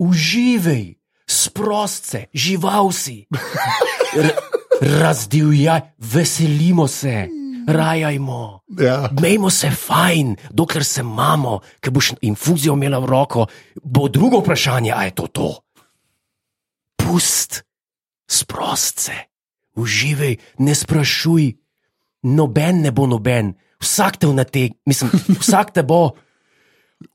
Speaker 1: Uživaj, sprost se, žival si, R razdivjaj, veselimo se, rajajmo.
Speaker 2: ja.
Speaker 1: Mejmo se fajn, dokler se imamo, ki boš infuzijo imela v roko, bo drugo vprašanje, a je to to. Pust, sprost se, uživaj, ne sprašuj, noben ne bo noben, vsak te vnateg, mislim, vsak te bo.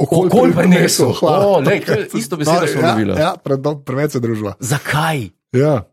Speaker 2: Okolj
Speaker 1: Okolj prinesel.
Speaker 2: prinesel, hvala.
Speaker 1: O, lej, to je isto besedo sva
Speaker 2: ja,
Speaker 1: dobila.
Speaker 2: ja, pred, preveč se družila.
Speaker 1: Zakaj?
Speaker 2: Ja.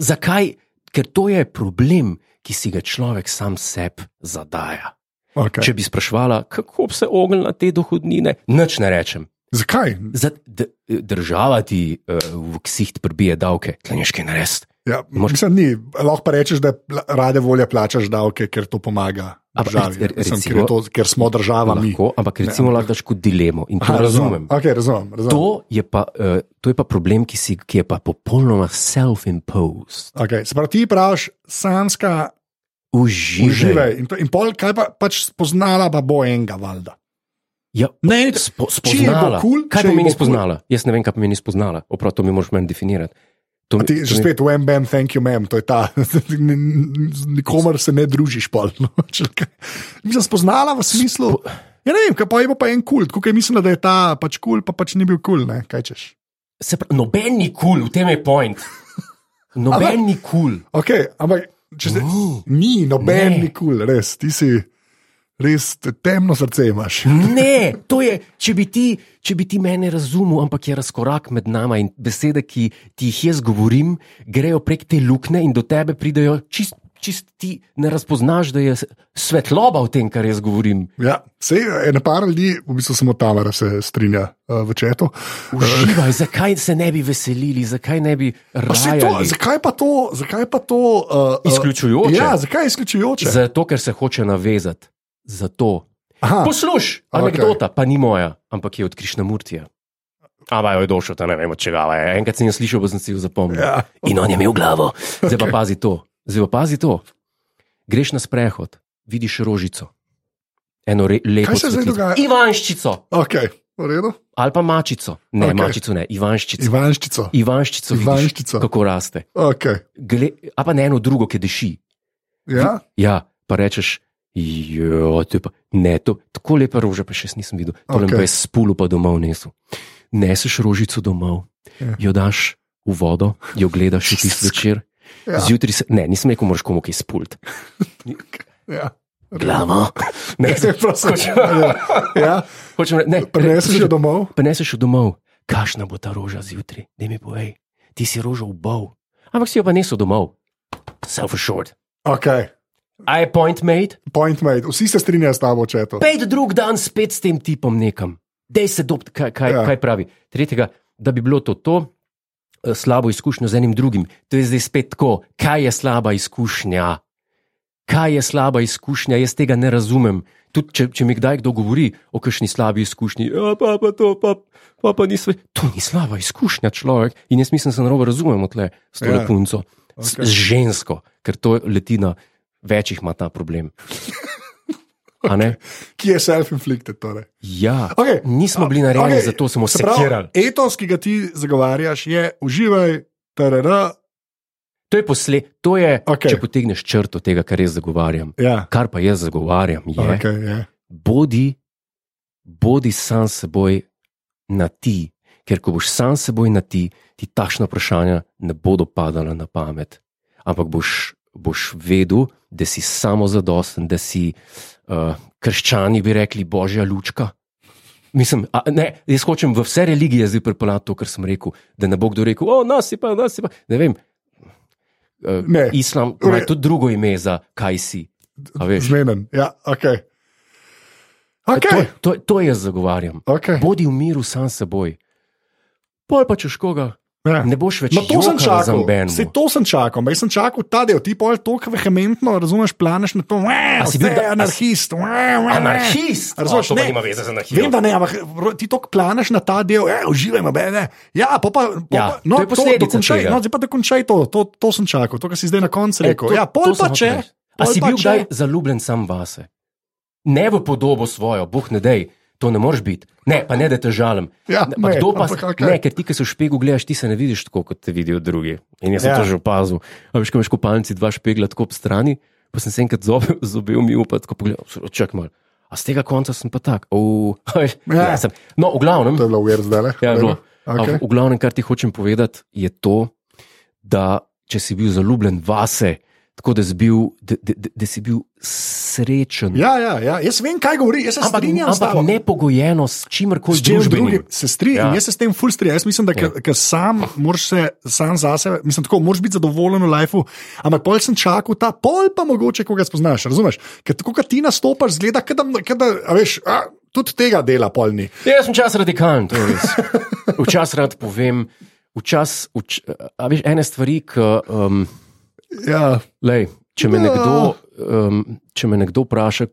Speaker 1: Zakaj? Ker to je problem, ki si ga človek sam sebi zadaja.
Speaker 2: Okay.
Speaker 1: Če bi sprašvala, kako bi se ognila te dohodnine, nič ne rečem.
Speaker 2: Zakaj?
Speaker 1: Za, d, država ti uh, v ksiht prbije davke, tleniš kaj narediti.
Speaker 2: Ja,
Speaker 1: Moš-
Speaker 2: mislim, ni. Lahko pa rečeš, da pla- rade volje plačaš davke, ker to pomaga.
Speaker 1: Ampak
Speaker 2: Državi,
Speaker 1: re-
Speaker 2: Mislim, ker,
Speaker 1: recimo-
Speaker 2: je to, ker smo država. mi.
Speaker 1: Lahko, ampak recimo lahko daš kot dilemo in to
Speaker 2: Aha,
Speaker 1: Aha, razumem.
Speaker 2: Okay, razumem, razumem.
Speaker 1: To je, pa, uh, to je pa problem, ki, si, ki je pa popolnoma self-imposed.
Speaker 2: Okay. Sprav ti praviš, sanska,
Speaker 1: Uživaj.
Speaker 2: uživaj. In, to, in pol, kaj pa pač spoznala, pa bo enega, valjda.
Speaker 1: Ja,
Speaker 2: Ne,
Speaker 1: Spo,
Speaker 2: če ji bo
Speaker 1: spoznala.
Speaker 2: kul,
Speaker 1: kaj
Speaker 2: če ji
Speaker 1: pomeni
Speaker 2: bo kul.
Speaker 1: spoznala? Jaz ne vem, kaj pomeni spoznala. Oprav, to mi moraš meni definirati. To mi-
Speaker 2: Ti
Speaker 1: to
Speaker 2: že
Speaker 1: mi-
Speaker 2: spet v MBM, thank you, mem, to je ta. N- z Nikomer se ne družiš, pol. No, če kaj. Mislim, spoznala v smislu. Ja, ne vem, kaj pa je bil pa en kult, kako je mislila, da je ta pač kul, cool, pa pač ni bil kul, cool, ne, kaj češ.
Speaker 1: Se pravi, noben ni kul, cool, v tem je point. Noben ni kul.
Speaker 2: Okay, ampak če se,
Speaker 1: Ni.
Speaker 2: ni noben
Speaker 1: Ne.
Speaker 2: nikul, res, ti si res temno srce imaš.
Speaker 1: Cool. Ne, to je, če bi, ti, če bi ti mene razumel, ampak je razkorak med nami in besede, ki ti jih jaz govorim, grejo prek te luknje in do tebe pridejo čist. Čist ti ne razpoznaš, da je s- svetloba v tem, kar jaz govorim.
Speaker 2: Ja, se je par ljudi, v bistvu samo Tamara se strinja uh, v četu.
Speaker 1: Uživaj, zakaj se ne bi veselili, zakaj ne bi
Speaker 2: Pa saj to,
Speaker 1: rajali?
Speaker 2: zakaj pa to? Zakaj pa to uh, uh,
Speaker 1: Izključujoče.
Speaker 2: Ja, zakaj je izključujoče?
Speaker 1: Zato, ker se hoče navezati. Zato.
Speaker 2: Aha,
Speaker 1: Poslušaj,
Speaker 2: okej.
Speaker 1: anekdota, pa ni moja, ampak je od Krišnamurtija. Ampak jo je došel, ta ne vem, od čega je. Enkrat sem jo slišal, pa sem si jo zapomnil.
Speaker 2: ja.
Speaker 1: In on je imel glavo. Zdaj pa pazi to. Zdaj pa pazi to. Greš na sprehod, vidiš rožico. Eno re, lepo
Speaker 2: Kaj se zdaj
Speaker 1: cvetlico.
Speaker 2: dogaja?
Speaker 1: Ivanščico
Speaker 2: okay, v redu.
Speaker 1: ali pa mačico. Ne,
Speaker 2: Okej.
Speaker 1: okay. mačico ne, Ivanščico.
Speaker 2: Ivanščico.
Speaker 1: Ivanščico, Ivanščico.
Speaker 2: Ivanščico.
Speaker 1: vidiš, kako raste.
Speaker 2: Okay.
Speaker 1: Gle, a pa ne eno drugo, ki diši.
Speaker 2: Ja?
Speaker 1: Ja, pa rečeš, jo, to je pa, ne, to, tako lepe rože pa še jaz nisem videl. Pa
Speaker 2: Okej.
Speaker 1: okay. brez spulu pa domov nesel. Neseš rožico domov, ja.
Speaker 2: Ja.
Speaker 1: jo daš v vodo, jo gledaš v tisti večer. Ja.
Speaker 2: Ja.
Speaker 1: Zjutraj se, ne, nisem rekel, moraš komu kaj spult.
Speaker 2: Ja.
Speaker 1: Glava. Ne,
Speaker 2: Se prosim. Ja. ja.
Speaker 1: hočem reči, ne,
Speaker 2: Prinesel si jo domov?
Speaker 1: Prineseš jo domov, kašna bo ta roža zjutraj, da mi povej, ti si rožo ubov. Ampak si jo pa nesel domov. Self assured.
Speaker 2: Okay.
Speaker 1: I appoint made.
Speaker 2: Point made. Vsi se strinjajo s tabo, če je to.
Speaker 1: Pejdi drug dan spet s tem tipom nekam. Dej se dobt, kaj, kaj,
Speaker 2: Ja.
Speaker 1: ja. kaj pravi. Tretjega, da bi bilo to to. eh, Slabo izkušnjo z enim drugim. To je zdaj spet tako, kaj je slaba izkušnja. Kaj je slaba izkušnja, jaz tega ne razumem. Tudi če, če mi kdaj kdo govori o kakšni slabi izkušnji, ja, pa, pa to, pa, pa, pa ni sve. To ni slaba izkušnja, človek. In jaz mislim, da se narobe razumemo tle s to
Speaker 2: Ja.
Speaker 1: ja. punco, s,
Speaker 2: Okej.
Speaker 1: z žensko, ker to leti na večjih ima ta problem. A ne?
Speaker 2: Ki je self-inflicted. Torej.
Speaker 1: Ja, okay.
Speaker 2: Okej.
Speaker 1: nismo bili narejeni, okay. zato smo se sekirali.
Speaker 2: Etos, ki ga ti zagovarjaš, je uživaj, TRR.
Speaker 1: To je posle, to je,
Speaker 2: Okej.
Speaker 1: okay. če potegneš črto tega, kar jaz zagovarjam.
Speaker 2: Ja,
Speaker 1: Kar pa jaz zagovarjam, je, okay.
Speaker 2: okay, ja.
Speaker 1: bodi, bodi sam s seboj na ti, ker ko boš sam s seboj na ti, ti takšna vprašanja ne bodo padala na pamet. Ampak boš, boš vedel, da si samo zadosten, da si uh, krščani, bi rekli, božja lučka. Mislim, a, ne, jaz hočem v vse religije zdaj prepeljati to, kar sem rekel, da ne bo kdo rekel, o, nas je pa, nas je pa. Ne vem. Uh,
Speaker 2: Ne.
Speaker 1: Islam
Speaker 2: V
Speaker 1: ima
Speaker 2: redu.
Speaker 1: tudi drugo ime za kaj si. A veš?
Speaker 2: zmeden. Ja, okay. Okay.
Speaker 1: To, to, to jaz zagovarjam.
Speaker 2: Okay.
Speaker 1: Bodi v miru sam s seboj. Pol pa češ koga,
Speaker 2: Ja.
Speaker 1: ne boš več
Speaker 2: No, to sem čakal, se
Speaker 1: Zamben.
Speaker 2: to sem čakal, ampak sem čakal ta del, ti pol tako vehementno, razumeš, planeš na to,
Speaker 1: A si bil
Speaker 2: da je
Speaker 1: da- a si-
Speaker 2: anarhist. wah, wah,
Speaker 1: Anarhist!
Speaker 2: Razumeš,
Speaker 1: O, to pa
Speaker 2: ne.
Speaker 1: nima veze z anarhijo.
Speaker 2: Vem, da ne, ampak ro- ti tako planeš na ta del, "E, uživaj, bebe. Ja, pa pa, pa,
Speaker 1: Ja,
Speaker 2: pa
Speaker 1: to
Speaker 2: no,
Speaker 1: je posledica
Speaker 2: dokončaj,
Speaker 1: tega.
Speaker 2: no, zdaj pa dokončaj to, to, to sem čakal, to, kar si zdaj na koncu
Speaker 1: E,
Speaker 2: rekel.
Speaker 1: to-
Speaker 2: ja,
Speaker 1: to
Speaker 2: pol
Speaker 1: sem
Speaker 2: pa
Speaker 1: hotel
Speaker 2: če.
Speaker 1: reči. A
Speaker 2: pol
Speaker 1: si
Speaker 2: pa
Speaker 1: bil
Speaker 2: če-
Speaker 1: kdaj zaljubljen sam vase? Ne v podobo svojo, boh ne dej, to ne moreš biti. Ne, pa ne da te žalim.
Speaker 2: Ja,
Speaker 1: Ne, pa
Speaker 2: ne,
Speaker 1: kdo pa,
Speaker 2: ampak okej.
Speaker 1: ne, ker ti, ki si v špegu, gledaš, ti se ne vidiš tako, kot te vidijo drugi. In jaz sem to
Speaker 2: Ja.
Speaker 1: že opazil. A veš, ko imaš v kopalnici dva špegla tako ob strani, pa sem se enkrat zobe, zobel mi upa, tako pogledal, čak mal. A z tega konca sem pa tak. Oh,
Speaker 2: Ja.
Speaker 1: ja. No, v glavnem.
Speaker 2: To je bilo ujer zdaj le.
Speaker 1: Ja, je bilo.
Speaker 2: Okay.
Speaker 1: Ampak v glavnem, kar ti hočem povedati, je to, da če si bil zaljubljen vase, Tako da, zbil, da, da, da- da si bil srečen.
Speaker 2: Ja, ja, ja, jaz vem, kaj govori, jaz se
Speaker 1: ampak
Speaker 2: strinjam s
Speaker 1: ampak
Speaker 2: tabo.
Speaker 1: ne pogojeno s čimerkoli
Speaker 2: S čim
Speaker 1: drugim.
Speaker 2: drugim se strinjam,
Speaker 1: Ja.
Speaker 2: ja. jaz se s tem ful strinjam. Jaz mislim, da ker- ker sam moraš se sam zase, mislim, tako moraš biti zadovoljen v lifeu, ampak pol sem čakal ta pol, pa mogoče koga spoznaš, razumeš? Ker tako, kot ti nastopaš, zgleda, kada, kada, a veš, a, tudi tega dela polni.
Speaker 1: Ja, jaz sem čas radikalen, to je res. Včasih rad povem, včasih, vč, a veš, ene stvari, ki. Um,
Speaker 2: Ja,
Speaker 1: Lej, če, me
Speaker 2: Ja.
Speaker 1: nekdo, um, če me nekdo vpraša,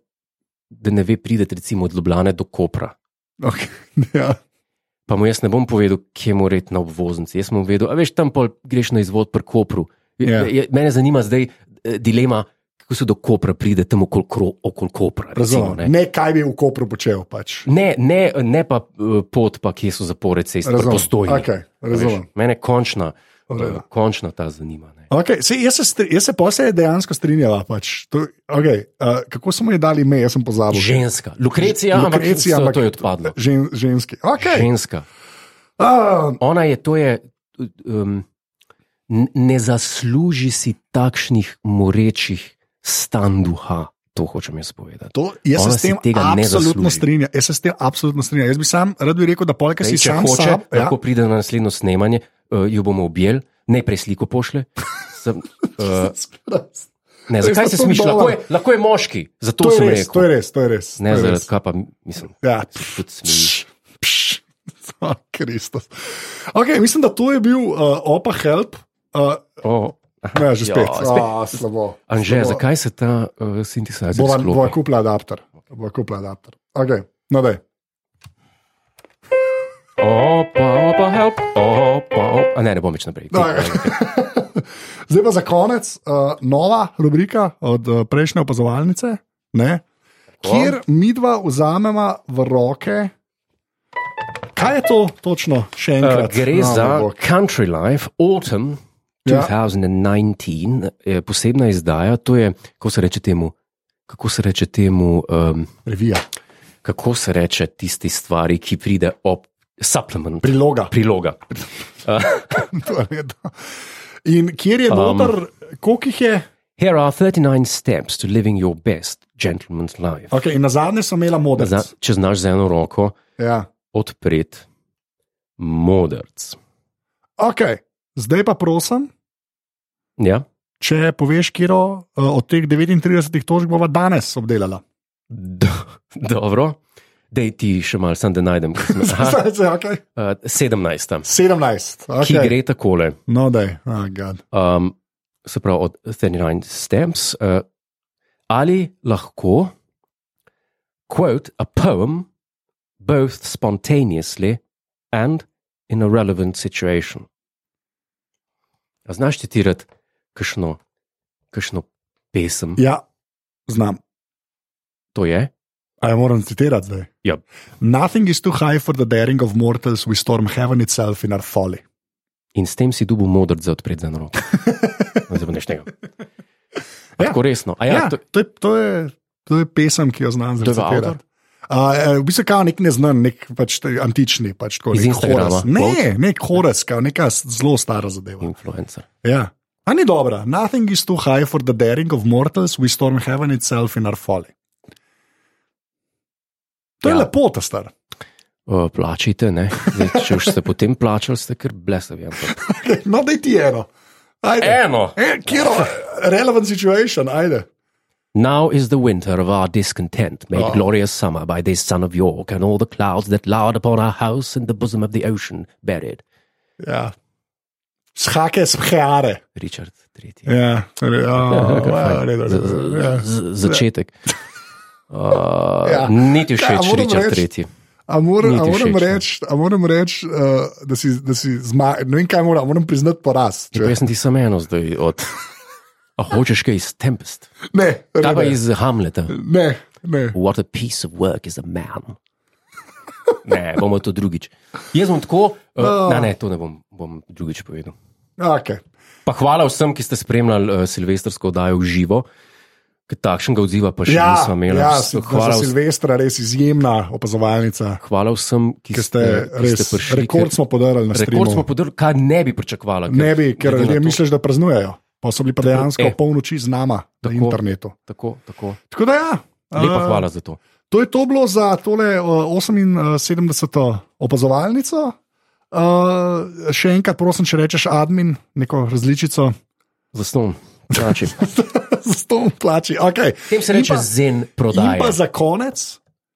Speaker 1: da ne ve, pridete recimo od Ljubljana do Kopra,
Speaker 2: okay, ja.
Speaker 1: pa mu jaz ne bom povedal, kje mora iti na obvoznici. Jaz mu bom povedal, a veš, tam pol greš na izvod pri Kopru.
Speaker 2: Ja.
Speaker 1: Yeah. Je, mene zanima zdaj eh, dilema, kako se do Kopra pride, tam okol, kro, okol Kopra. Recimo,
Speaker 2: razumem.
Speaker 1: ne?
Speaker 2: Ne, kaj bi v Kopru počel. Pač.
Speaker 1: Ne, ne, ne pa eh, pot, pa kje so zapore cest, pa
Speaker 2: Razumem.
Speaker 1: postojni.
Speaker 2: Okay,
Speaker 1: A veš,
Speaker 2: razumem.
Speaker 1: Mene končna,
Speaker 2: V redu.
Speaker 1: eh, končna ta zanima. Ne?
Speaker 2: Okay, se, jaz, se stri, jaz se posebej dejansko strinjava. Pač. To, okay, uh, kako smo ji dali ime, jaz sem pozabil.
Speaker 1: Ženska, Lukrecija, Lukrecija
Speaker 2: Lukrecija,
Speaker 1: ampak,
Speaker 2: No, ampak-
Speaker 1: ampak to je odpadlo.
Speaker 2: Žen, ženski. Okay.
Speaker 1: Ženska.
Speaker 2: Uh,
Speaker 1: Ona je, to je, um, ne zasluži si takšnih morečih stanj duha. To hočem jaz povedati.
Speaker 2: to, jaz, se
Speaker 1: Ona
Speaker 2: s
Speaker 1: si
Speaker 2: tem
Speaker 1: tega ne
Speaker 2: absolutno
Speaker 1: zasluži.
Speaker 2: strinjam, jaz se s tem absolutno strinjam. Jaz bi sam rad bi rekel, da polka si
Speaker 1: Dej, če
Speaker 2: sam
Speaker 1: hoče,
Speaker 2: sam, ja,
Speaker 1: lahko pride na naslednjo snemanje, uh, jo bomo objeli, najprej sliko pošle. Sem, uh, ne,
Speaker 2: To je
Speaker 1: zakaj se
Speaker 2: zato
Speaker 1: smiš?
Speaker 2: dolar.
Speaker 1: Lahko je, lahko je moški, zato
Speaker 2: to, je
Speaker 1: sem
Speaker 2: res,
Speaker 1: rekel.
Speaker 2: to je res, to je res.
Speaker 1: Ne,
Speaker 2: to je
Speaker 1: zaradi
Speaker 2: res.
Speaker 1: kapa, mislim,
Speaker 2: Ja.
Speaker 1: se tudi smiš.
Speaker 2: Pš, oh, Kristus. Okay, mislim, da to je bil uh, opa help. Uh,
Speaker 1: O, aha,
Speaker 2: ne, že
Speaker 1: ja,
Speaker 2: spet.
Speaker 1: spet.
Speaker 2: Ah, slabo.
Speaker 1: Anže,
Speaker 2: Slabo.
Speaker 1: zakaj se ta uh, sintetizator
Speaker 2: Bova, bova
Speaker 1: sklopi?
Speaker 2: kupila adapter. Bova kupila adapter. Okay, no, daj.
Speaker 1: Opa, opa, help, opa, opa. A Ne, ne bom več naprej.
Speaker 2: Da, ja. Zdaj pa za konec uh, nova rubrika od uh, prejšnje opazovalnice, ne, kjer mi dva vzamemo v roke. Kaj je to točno,
Speaker 1: Uh,
Speaker 2: še enkrat?
Speaker 1: gre
Speaker 2: No,
Speaker 1: za
Speaker 2: bog.
Speaker 1: Country Life Autumn
Speaker 2: Ja.
Speaker 1: 2019, ja. posebna izdaja. To je, kako se reče temu, kako se reče, temu, um,
Speaker 2: revija,
Speaker 1: kako se reče tisti stvari, ki pride ob supplement,
Speaker 2: priloga.
Speaker 1: priloga.
Speaker 2: To je redo. In kjer je noter, um, koliko jih je?
Speaker 1: Here are 39 steps to living your best gentleman's life.
Speaker 2: Okay, in na zadnje sem imela modrc.
Speaker 1: Zna, če znaš z eno roko
Speaker 2: Ja.
Speaker 1: odpreti modrc.
Speaker 2: Okay. Zdaj pa prosim,
Speaker 1: Ja?
Speaker 2: če poveš, kje uh, od teh 39 tožb bova danes obdelala.
Speaker 1: Do, dobro, dej ti še malo, sem da najdem. ker sem- Aha,
Speaker 2: Zdaj, okay.
Speaker 1: uh, 17.
Speaker 2: 17,
Speaker 1: Okay. Ki
Speaker 2: okay.
Speaker 1: gre takole.
Speaker 2: no, da je, oh, gad.
Speaker 1: Um, se pravi, od 39 steps. Uh, ali lahko, quote, a poem, both spontaneously and in a relevant situation. A znaš citirati kakšno, kakšno pesem?
Speaker 2: Ja, znam.
Speaker 1: To je?
Speaker 2: A jo moram citirati zdaj.
Speaker 1: Ja.
Speaker 2: Nothing is too high for the daring of mortals, we storm heaven itself in our folly.
Speaker 1: In s tem si dubu modr za odpreti za eno roko. Zdaj pa neštega.
Speaker 2: Ja.
Speaker 1: Ja. Tako resno. A
Speaker 2: Ja,
Speaker 1: Ja,
Speaker 2: ja,
Speaker 1: to,
Speaker 2: to, je, to, je, to je pesem, ki jo znam
Speaker 1: To je
Speaker 2: zelo
Speaker 1: pa avtor?
Speaker 2: citirati. Uh, v bistvu je nek neznan, nek pač te- antični, pač tako
Speaker 1: Iz
Speaker 2: nek
Speaker 1: Instagrama,
Speaker 2: Horace. Ne,
Speaker 1: quote?
Speaker 2: nek horas, kao neka s- zelo stara zadeva.
Speaker 1: influencer.
Speaker 2: Ja. A ni dobra. Nothing is too high for the daring of mortals, we storm heaven itself in our folly. To je
Speaker 1: Ja.
Speaker 2: lepo, ta star.
Speaker 1: Uh, plačite, ne? Zdaj, če už ste potem plačali, ste kar blesavi. ampak-
Speaker 2: No, da ti eno. Ajde.
Speaker 1: Eno!
Speaker 2: E, kjer je relevant situation, ajde.
Speaker 1: Now is the winter of our discontent, made
Speaker 2: Oh.
Speaker 1: glorious summer by this son of York, and all the clouds that lowered upon our house in the bosom of the ocean buried.
Speaker 2: Ja. Shake spheare.
Speaker 1: Richard III.
Speaker 2: Ja, re- a,
Speaker 1: kar
Speaker 2: a,
Speaker 1: fajn.
Speaker 2: re- re-
Speaker 1: Z- z-
Speaker 2: re- ja.
Speaker 1: z- Začetek. Uh,
Speaker 2: Ja.
Speaker 1: Niti
Speaker 2: Kaj, a
Speaker 1: všeč,
Speaker 2: moram
Speaker 1: Richard
Speaker 2: reči?
Speaker 1: III.
Speaker 2: A moram- a
Speaker 1: Ni ti
Speaker 2: moram
Speaker 1: všeč, ne?
Speaker 2: reči, a moram reči, uh, da si, da si zma, ne vem kaj moram, moram priznati poraz. če-
Speaker 1: Jaz sem ti samo eno zdaj od. A hočeš kaj iz Tempest?
Speaker 2: Ne, re-
Speaker 1: Kaj pa
Speaker 2: ne,
Speaker 1: iz Hamleta?
Speaker 2: ne, ne.
Speaker 1: What a piece of work is a man. Ne, bomo to drugič. Jaz bom tako, uh,
Speaker 2: Oh.
Speaker 1: ne, ne, to ne bom, bom drugič povedal.
Speaker 2: Okay.
Speaker 1: Pa hvala vsem, ki ste spremljali uh, silvestrsko oddajo v živo, ker takšnega odziva pa še ja,
Speaker 2: Ja,
Speaker 1: nismo imeli.
Speaker 2: ja,
Speaker 1: Vs-
Speaker 2: si- za
Speaker 1: hvala, vs-
Speaker 2: Silvestra res izjemna opazovalnica,
Speaker 1: hvala vsem, ki,
Speaker 2: ki ste
Speaker 1: ste, ki Ja, ste
Speaker 2: res,
Speaker 1: prišli.
Speaker 2: rekord smo podarili na
Speaker 1: ker, rekord
Speaker 2: streamu.
Speaker 1: smo podarili, kar ne bi pričakovala.
Speaker 2: Ne bi, ker
Speaker 1: glede na
Speaker 2: ljudje
Speaker 1: to-
Speaker 2: misliš, da praznujejo. Pa so bili pa dejansko
Speaker 3: E.
Speaker 2: e. polnoči z nama na
Speaker 3: Tako.
Speaker 2: internetu.
Speaker 3: Tako, tako.
Speaker 2: Tako da ja.
Speaker 3: Lepa
Speaker 2: eh,
Speaker 3: hvala za to.
Speaker 2: To je to bilo za tole eh, 78. opazovalnico. Uh, še enkrat, prosim, če rečeš admin, neko različico,
Speaker 3: Zaston. Znači,
Speaker 2: za to plači. Okay.
Speaker 3: tem se
Speaker 2: In
Speaker 3: reče
Speaker 2: pa-
Speaker 3: zen
Speaker 2: In
Speaker 3: prodaja.
Speaker 2: pa za konec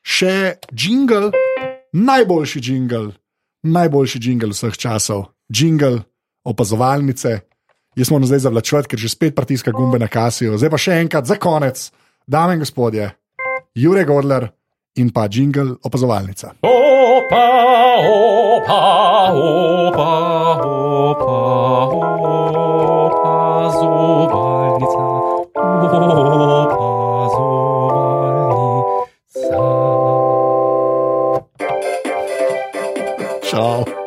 Speaker 2: še jingle, najboljši jingle, najboljši jingle vseh časov, jingle opazovalnice. Jaz moram zdaj zavlačevati, ker že spet pritiska gumbe na kasijo. Zdaj pa še enkrat za konec, dame in gospodje, Jure Godler in pa jingle opazovalnica.
Speaker 3: Opa, opa, opa, opa, opa, zovalnica. Opa, zovalnica.
Speaker 2: Čau.